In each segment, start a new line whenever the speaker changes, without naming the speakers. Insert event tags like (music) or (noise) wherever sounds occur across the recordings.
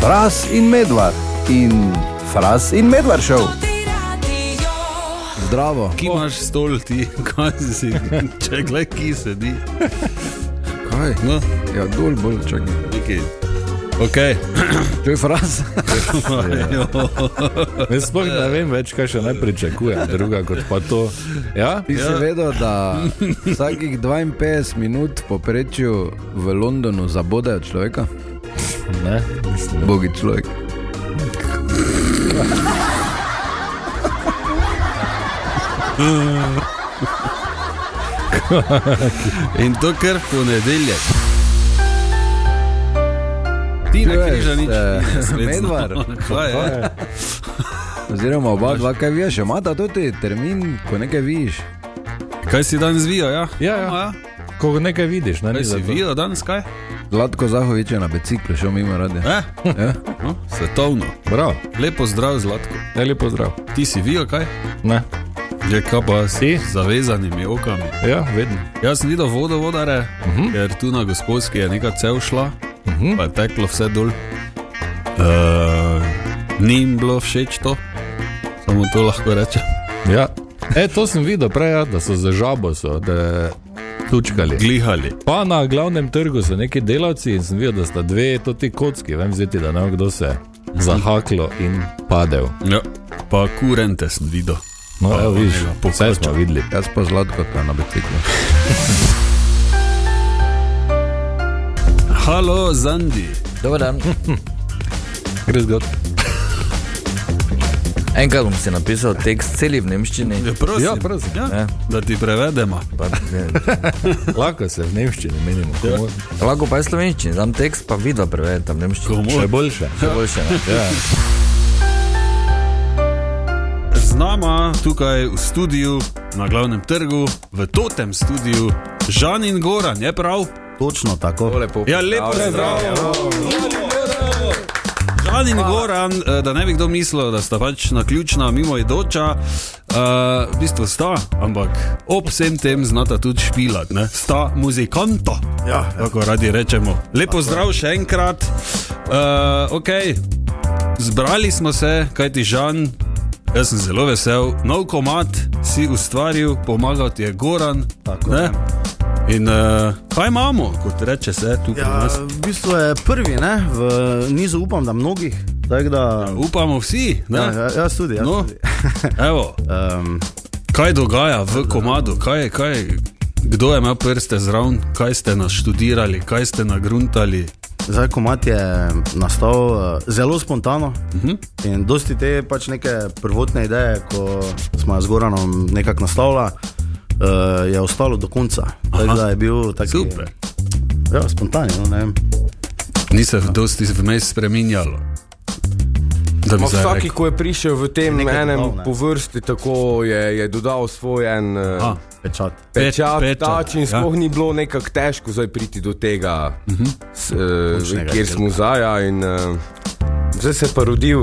Fras in medvard in Fras in medvard šov. Zdravo.
Ki imaš stol, ti, (laughs) kaj si si, če gled, ki sedi.
Kaj?
No,
Ja, dol bolj čakaj.
nekaj. Ok.
To je
(laughs)
fraz.
Jaz sploh ne vem več, kaj še naj pričakujem, druga kot pa to. Ja?
Ti ja. si vedel, da vsakih 52 minut po prečju v Londonu zabodajo človeka?
Ne, mislim, da
Bogi človek.
In to kar ponedeljek. Ti ne
Čuješ,
križa nič. (laughs)
eh,
ni
(laughs)
nesrečna.
medvar.
Kaj je?
Oziroma, oba dva, kaj veš, imata tudi termin, ko nekaj viš.
Kaj si danes vijo, ja?
Ja, ja.
Ama,
Ko nekaj vidiš, ne
Kaj
ni
si
za to.
vijo danes, kaj?
Zlatko Zahovič je na biciklu šel mimo rade.
Eh?
Ja?
No, svetovno.
Prav,
Lepo zdrav, Zlatko.
ne lepo zdrav.
Ti si vijo, kaj?
Ne.
Je kaj pa
Ti?
z zavezanimi okami.
Ja, vedno.
Jaz sem videl vodovodare, uh -huh. ker tu na gospodski je neka cev šla, uh
Mhm.
-huh. pa je teklo vse dol. Uh, ni jim bilo všeč to, samo to lahko rečem.
Ja. E, to sem videl prej, ja, da so za žabo so, da tučkali.
Glihali.
Pa na glavnem trgu so neki delavci in sem videl, da sta dve to ti kocki, vem ziti, da ne vem kdo se je zahaklo in padel.
Ja. Pa kurente sem videl.
No,
Pa
evo, vidiš,
onega
vse smo
pokoča.
videli.
Jaz pa zlatko ta na biciklu.
(laughs) Halo, Zandi.
Dobar dan.
Res god.
Enkrat bom si napisal tekst celi v nemščini.
Ja, prosim,
Ja, prosim.
Ja,
Ja.
da ti prevedemo.
Pa, ne,
Lahko se v nemščini menimo, komu-
lahko pa je slovenščini, dam tekst, pa vidva prevedem v nemščini.
Komu?
še boljše.
Še boljše. ne?
Z nama tukaj v studiu, na glavnem trgu, v totem studiu, Žan in Goran, je prav?
Točno tako.
Lepo.
Ja, lepo zdrav. Žan in Goran, eh, da ne bi kdo mislil, da sta pač na ključna, mimoidoča, uh, v bistvu sta, ampak ob vsem tem znata tudi špilati, ne? sta muzikanto. Ja, tako radi rečemo. Lepo zdrav še enkrat. Uh, okay. Zbrali smo se, kaj ti Žan. Jaz sem zelo vesel, nov komat si ustvaril, pomagal ti je Goran.
Tako,
ne? In uh, kaj imamo, kot reče se tukaj?
Ja,
Ja.
v bistvu je prvi ne, v nizu, upam, da mnogih. Tako Da,
Ja,
Upamo vsi, ne?
ja, ja, jaz tudi. Jaz
No.
tudi.
(laughs) Evo,
Um,
kaj dogaja v komadu, kaj, je- kaj, kdo je imel prste zraven, kaj ste nas študirali, kaj ste nagruntali.
zdaj, komat je nastal eh, zelo spontano uh
Mhm.
-huh. in dosti te pač neke prvotne ideje, ko smo jo z Goranom nekako nastavljali, uh, je ostalo do konca. Tako da je bil tako
Super.
Ja, spontano. No, ne vem.
Ni se dosti vmes spreminjalo. Da bi
Ma
zdaj
Vsak,
rekel.
ko je prišel v tem
Nekaj
enem
dodal, ne.
po vrsti, tako je, je dodal svoj en eh,
A,
Pečat.
pečat,
pečat, pečat in
ja. Mhm.
sploh ni bilo nekako težko zdaj priti do tega, uh -huh.
Končnega izdelka.
kjer
Ja.
smo zdaj. In eh, zdaj se je pa rodil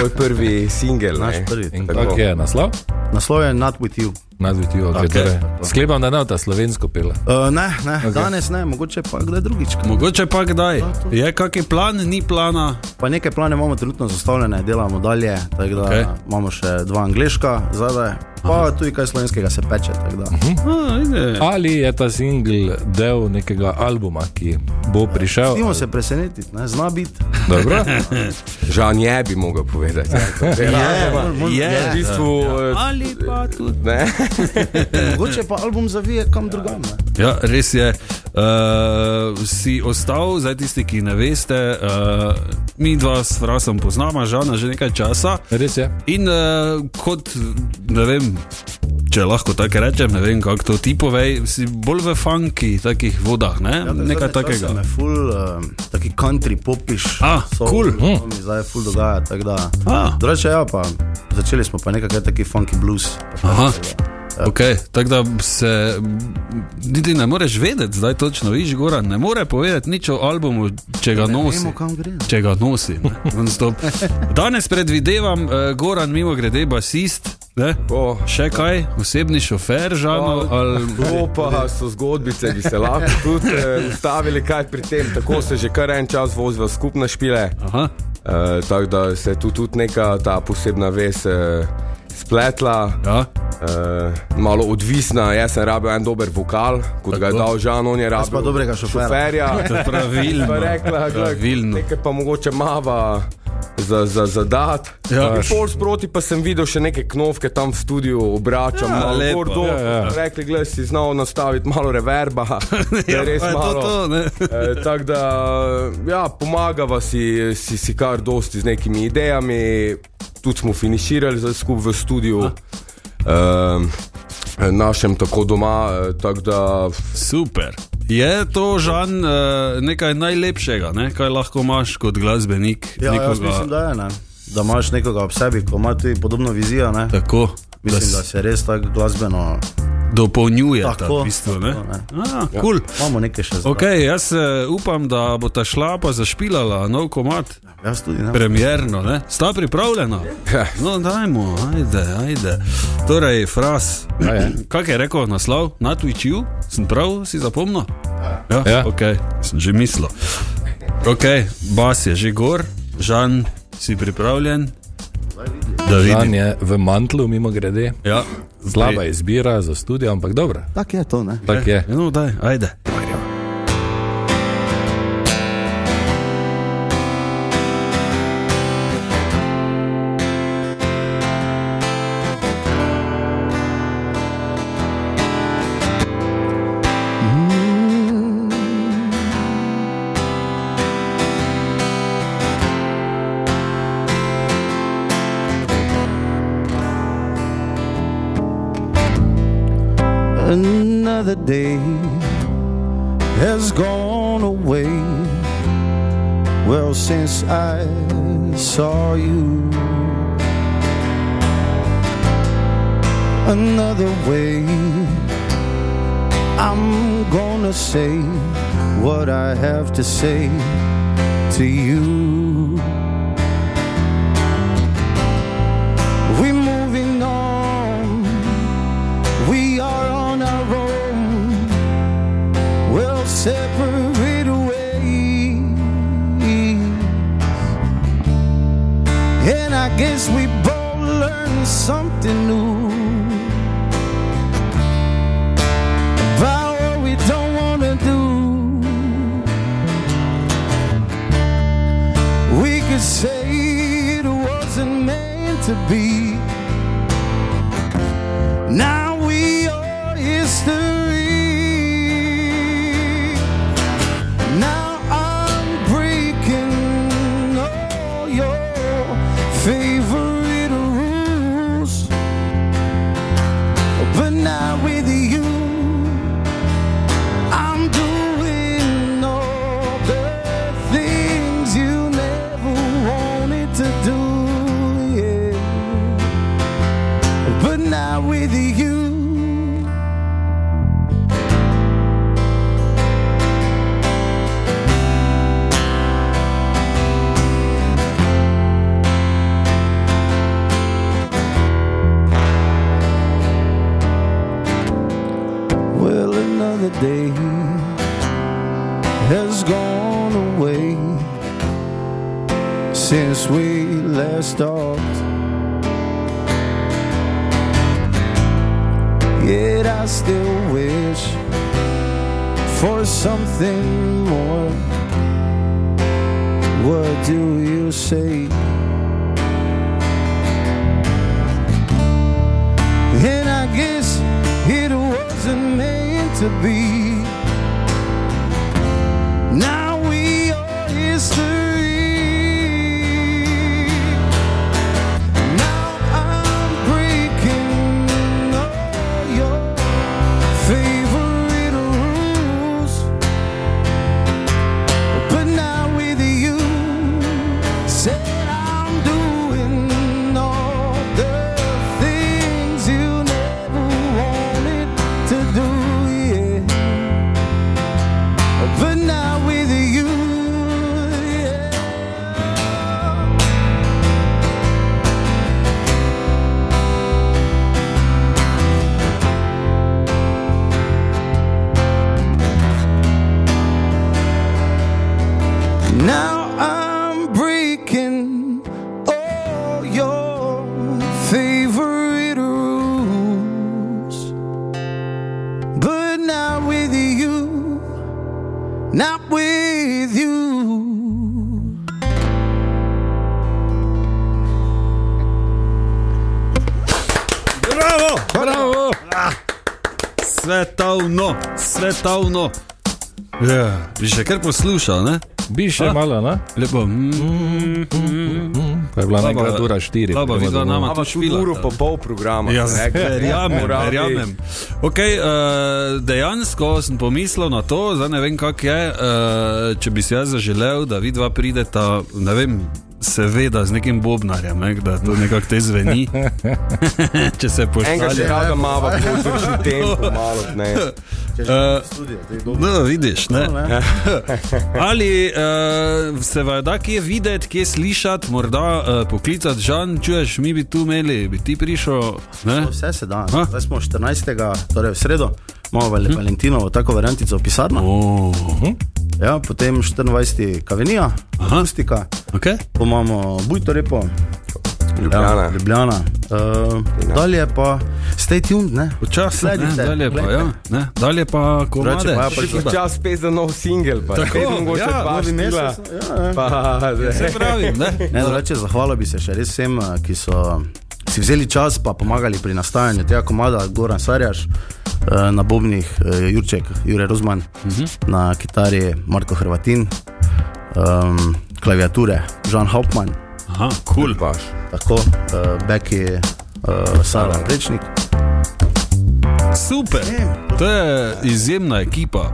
moj prvi singel.
Naš
ne.
prvi.
In
Tako.
kak je naslov?
Naslov je Not With You.
Nazviti jo, okay, torej. Sklepam, da ne ta slovensko pela.
Uh, ne, ne okay. danes ne, mogoče pa kdaj drugič.
Mogoče pa kdaj. Je kakšen plan, ni plana.
Pa nekaj plane imamo trenutno zastavljene, delamo dalje, tako da
Okej.
okay. imamo še dva angliška zadaj, pa Aha. tudi kaj slovenskega se peče. tako da.
A, ajde.
Mhm. Ali je ta singl del nekega albuma, ki bo prišel?
Pustimo se presenetiti, ne? zna biti.
Dobro.
Žan je bi mogel povedati.
Ja,
Ja,
Ja, je.
V bistvu, eh,
Ali pa tudi.
ne.
Mogoče pa album zavije kam drugam. ne.
Ja, res je. Uh, si ostal, zdaj tisti, ki ne veste, uh, mi dva s Frasom poznamo, žana že nekaj časa.
Res je.
In uh, kot, ne vem, če lahko tako rečem, ne vem, kako to ti povej, si bolj v funki, takih vodah, ne? ja,
te
nekaj
zadnje čase
takega.
Me ful, uh, taki country popiš.
Ah,
soul,
cool.
to
Mhm.
mi Zdaj ful dogaja, tako da.
Ah.
Drugače, ja, pa začeli smo pa nekaj taki funky blues.
Aha. Okay, tako da se m, niti ne moreš vedeti, zdaj točno viš, Gora ne more povedati nič o albumu, če ga
Ne
nosi.
vemo, kam gre.
če ga nosi. ne, non-stop. Danes predvidevam, uh, Goran, mimo grede, basist. Ne?
Oh.
Še kaj, osebni šofer, žano. Ali...
To pa so zgodbice, ki se lahko tudi eh, ustavili, kaj pri tem. Tako se že kar en čas vozijo skupne špile.
Aha,
Uh, tako da se je tu tudi neka ta posebna vez uh, spletla.
Ja.
Uh, malo odvisna, jaz sem rabil en dober vokal, kot ga je dal Žan, on je rabil.
pa dobrega šoferja.
(laughs)
šoferja.
Pravilno.
Pa rekla,
Pravilno.
pravilno. Nekaj pa mogoče mava za, za, za dat.
Ja.
Ja. Pol sproti pa sem videl še neke knofke tam v studiu, obračam
Ja,
ja, malo
lepo.
gor dol.
Ja, ja.
Rekli, gledaj, si znal nastaviti
(laughs)
malo reverba. da je
Ja, pa
res
je to
malo.
to, ne.
Eh, Tako da, ja, pomagava si, si, si kar dosti z nekimi idejami, tudi smo finiširali za skupaj v studiu. Uh, našem tako doma, eh, tako da
Super. Je to žan eh, nekaj najlepšega, ne? kaj lahko imaš kot glasbenik?
Ja, jaz
nekoga-
mislim, da je, ne. da imaš nekoga ob sebi, ko ima tudi podobno vizijo. Ne.
Tako, da
Mislim, da
se
se res tako glasbeno.
dopolnjuje
Tako,
ta bistvo. Ne?
tako, ne.
Ah, cool.
Imamo nekaj še za
Ok, jaz eh, upam, da bo ta šla pa zašpilala nov komat,
Jaz tudi ne.
premjerno, ne? Sta pripravljena? No, dajmo, ajde, ajde. Torej, fras.
Kaj je?
Kaj je rekel naslov? Na Twitchu? Sem prav si zapomnil? Ja,
Ja.
ok, sem že mislil. Ok, bas je že gor, žan, si pripravljen? Da
Dan
vidim.
je v mantlu, mimo grede.
Ja.
Slaba izbira za študijo, ampak dobro.
Tako je to, ne.
Tak je.
No, daj, ajde.
Another day has gone away. Well, since I saw you, another way I'm gonna say what I have to say to you. We're moving on. We are on our own. We'll separate ways. And I guess we both learned something new. About what we don't want to do. We could say it wasn't meant to be. Now we are history. Now I'm breaking all your favorite rules. But now with you, I'm doing all the things you never wanted to do. Yeah. But now with you, well, another day has gone away since we last talked. Yet I still wish for something more. What do you say? And I guess it wasn't meant to be. Now we are history. Now I'm breaking all your favorite rules, but now with you, said I'm doing all the things you never wanted to do, yeah. But now with
svetovno, svetovno. Ja, bi še kar poslušal, ne?
Bi še
A?
malo, ne?
Lepo. mm,
Pa je bila
Laba-
nekrat ura štiri.
Laba,
pridemo
vidva
domov.
nama.
Ampak tudi
špila,
uro
da.
pa pol programa.
Jaz
ne, ker
(laughs) verjamem,
morabi-
verjamem. Okay, uh, dejansko sem pomislil na to, zdaj ne vem, kako je. Uh, če bi si jaz zaželel, da vi dva prideta, ne vem, seveda z nekim bobnarjem, ne, da to nekako te
(laughs)
zveni. (laughs) če se
Enkrat
pošalje.
še rada mava, (laughs) podruži tempo malo. Ne.
Če že
Eh,
studio, to je
(laughs)
dobro.
No, vidiš, ne.
No, ne.
(laughs) Ali uh, se vajda kje videti, kje slišati, morda uh, poklicati, žan, čuješ, mi bi tu imeli, bi ti prišel. Ne?
No, Vse se da.
A?
Zdaj smo 14. torej v sredo, imamo val-
Mhm.
Valentinovo tako variantico pisarno.
Oh,
Ja, potem 24. kavenija,
Aha.
akustika,
okay.
pa imamo bujto repo, Ja,
Ljubljana.
Ljubljana. Uh, dalje pa stay tuned, ne?
Počasno, ne,
Sledite,
dalje pa,
glejte.
ja, ne, dalje pa
Drugače
komade.
pa ja pač
Še čas spet za nov singel, pa
Tako,
spet mogoče
ja,
dva
novi
štila.
mesec, ja, ja.
Pa,
Se pravi, ne?
Ne, drugače, zahvala bi se še res vsem, eh, ki so eh, si vzeli čas in pomagali pri nastajanju tega komada, Goran Sarjaš. eh, Na Bobnih eh, Jurček, Jure Rozman, uh -huh. na kitari Marko Hrvatin, um, klaviature Žan Hauptmann,
Aha, kul. Cool.
Baš.
tako uh, Beki uh, Sara Prečnik.
Super. To je izjemna ekipa.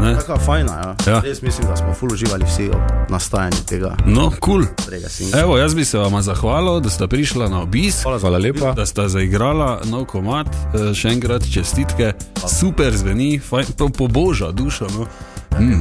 Ne?
Taka fajna, ja.
Ja.
ja. res mislim, da smo ful uživali vsi ob nastajanju tega
No, kul. Cool.
tega singla.
Evo, jaz bi se vama zahvalil, da sta prišla na obisk.
Hvala lepa.
Da sta zaigrala nov komat, Eh, še enkrat čestitke, super zveni, fajn, to poboža dušo. No. Mm.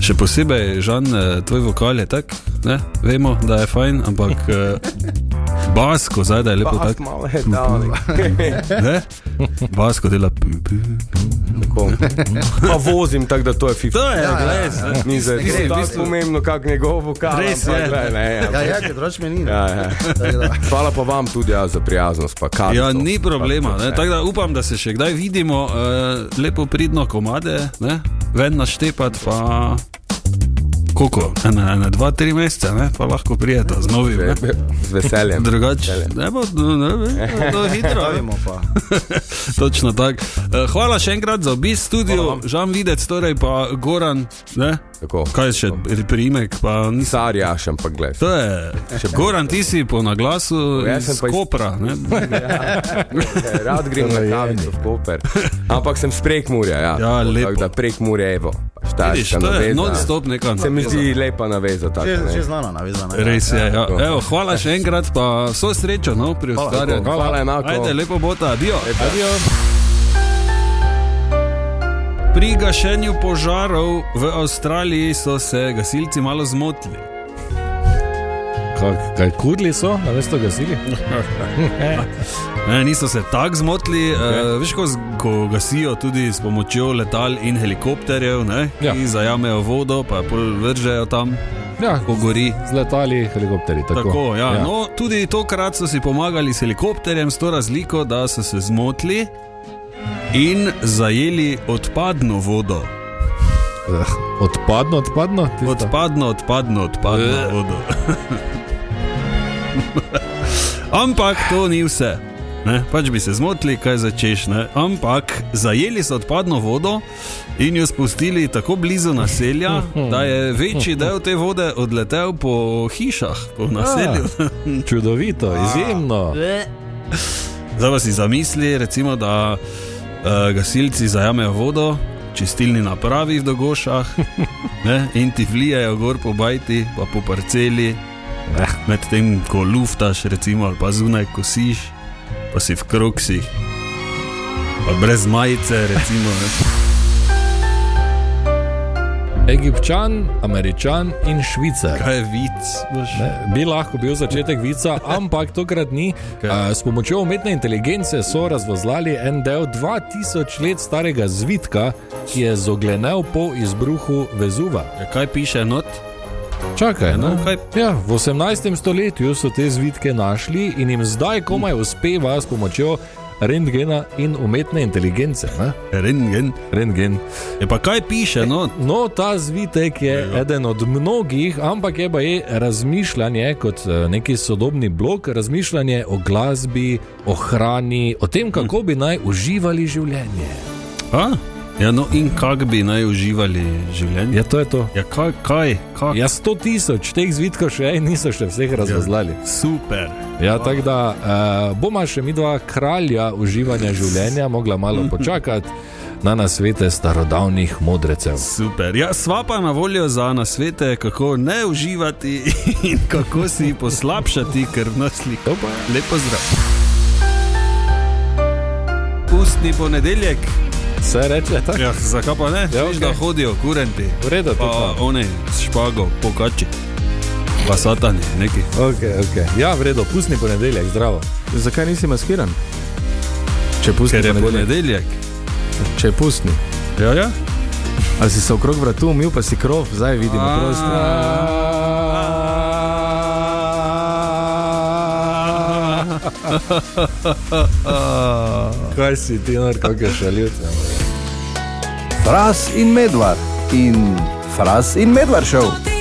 Še posebej, Žan, eh, tvoj vokal je tak, ne? vemo, da je fajn, ampak (laughs) eh, bas, ko zadaj je lepo
Baš
tak.
malo je dal.
Ne? Basko dela. pu, pu.
(laughs) Pa vozim, tako da to je
(laughs)
50.
To je, glej, zdaj.
Ni za
Gre, v
to tako
bistvu-
pomembno, kako njegov vokal.
Res
ampak
je.
glej, ne,
Ja,
ampak-
ja, ker drugače meni ni.
Ja, ja.
Tako da-
Hvala pa vam tudi ja, za prijaznost. pa kavico.
Ja, ni problema.
Pa to
ne.
vse.
Tako da upam, da se še kdaj vidimo, eh, lepo pridno komade, ne? ven naštepati pa. Koliko? Ena, ena, dva, tri mesece, ne? pa lahko prijeta z novim. ne.
Z veseljem.
Drugače, ne bo, no, ne bo, ne bo hitro. ne.
Pravimo pa.
(laughs) Točno tako. Eh, Hvala še enkrat za obisk studio, Žan Videc, torej pa Goran, ne?
Tako.
kaj je še priimek, pa nisem.
Sarja še pa gledaj.
To je, Goran, ti si po naglasu,
Jaz
iz
Ja, sem pa iz-
Kopra, ne?
(laughs) Rad grem na kavico v Koper. Ampak sem sprek Murja. Ja,
Ja, lepo.
Tako da prek Murja evo.
Vidiš,
Štajerska
to je
naveza.
non-stop neka.
Se mi zdi lepa naveza. Tako,
Že, že
ne.
znana, navezana.
Res je. Ja. Evo, hvala še enkrat, pa vso srečo no, pri ustvarjanju.
Hvala enako.
Ajde, lepo bo ta, adijo. adijo. Pri gašenju požarov v Avstraliji so se gasilci malo zmotili.
Kak- Kaj kudli so, a veste, gasili?
(laughs) Ne, niso se tako zmotili, okay. uh, veš, ko, z- ko gasijo tudi s pomočjo letal in helikopterjev, ne,
Ja.
ki zajamejo vodo, pa jo pol vržejo tam,
Ja,
ko gori.
z letali, helikopteri. Tako,
Tako, ja. no, tudi tokrat so si pomagali s helikopterjem, s to razliko, da so se zmotili in zajeli odpadno vodo.
Eh, Odpadno, odpadno. tisto? Eh.
Odpadno, odpadno, odpadno vodo. (laughs) Ampak to ni vse. Ne, pač bi se zmotili, kaj začeš. Ne? Ampak zajeli so odpadno vodo in jo spustili tako blizu naselja, da je večji del te vode odletel po hišah, po naselju. Ah.
Čudovito, izjemno.
(laughs) Zdaj pa si zamisli, recimo, da uh, gasilci zajamejo vodo, čistilni napravi v dogošah ne, in ti vlijajo gor po bajti, pa po parceli, Eh, medtem ko luftaš, recimo, ali pa zunaj kosiš, pa si v kroksih, pa brez majice, recimo. Ne. (laughs)
Egipčan, Američan in Švicar.
Kaj je vic? boš?
Ne, Bi lahko bil začetek vica, ampak tokrat ni.
Kaj?
Eh, S pomočjo umetne inteligence so razvozlali en del 2000 let starega zvitka, ki je zoglenel po izbruhu Vezuva.
Ja, Kaj piše not?
Čakaj,
No,
no?
kaj?
ja, v 18. stoletju so te zvitke našli in jim zdaj komaj uspeva s pomočjo rentgena in umetne inteligence. Ne?
Rengen.
Rentgen.
Je Ja, pa kaj piše not?
No, ta zvitek je eden od mnogih, ampak je pa je razmišljanje kot eh, neki sodobni blok, razmišljanje o glasbi, o hrani, o tem, kako bi naj uživali življenje.
A? Ja, no in kako bi naj uživali življenje?
Ja, to je to.
Ja, kaj, kaj, kaj?
Ja, 100 tisoč teh zvitkov še en niso še vseh razvozlali.
Super.
Ja, tako da uh, bomo še mi dva kralja uživanja življenja mogla malo počakati na nasvete starodavnih modrecev.
Super. Ja, sva pa na voljo za nasvete, kako ne uživati (laughs) in kako si poslabšati krvno sliko. Lepo zdrav. Pustni ponedeljek,
Se reče tako?
ja, (laughs) zakaj pa ne? Ja,
Ja,
Veš,
okej.
da hodijo kurenti,
V redu, to
pa
pa.
oni s špago, pokači, pa satani, neki.
Okay, okay. Ja, v redu, pustni ponedeljek, zdravo.
Zakaj nisi maskiran? Če pusti
Ker je
ponedeljek.
ponedeljek.
Če pusti.
Ja, ja.
Ali si se okrog vratu umil, pa si krov, zdaj vidimo prosto.
Kaj si ti, kakšne šaljivce?
Fras in medvar in fras in medvar šel.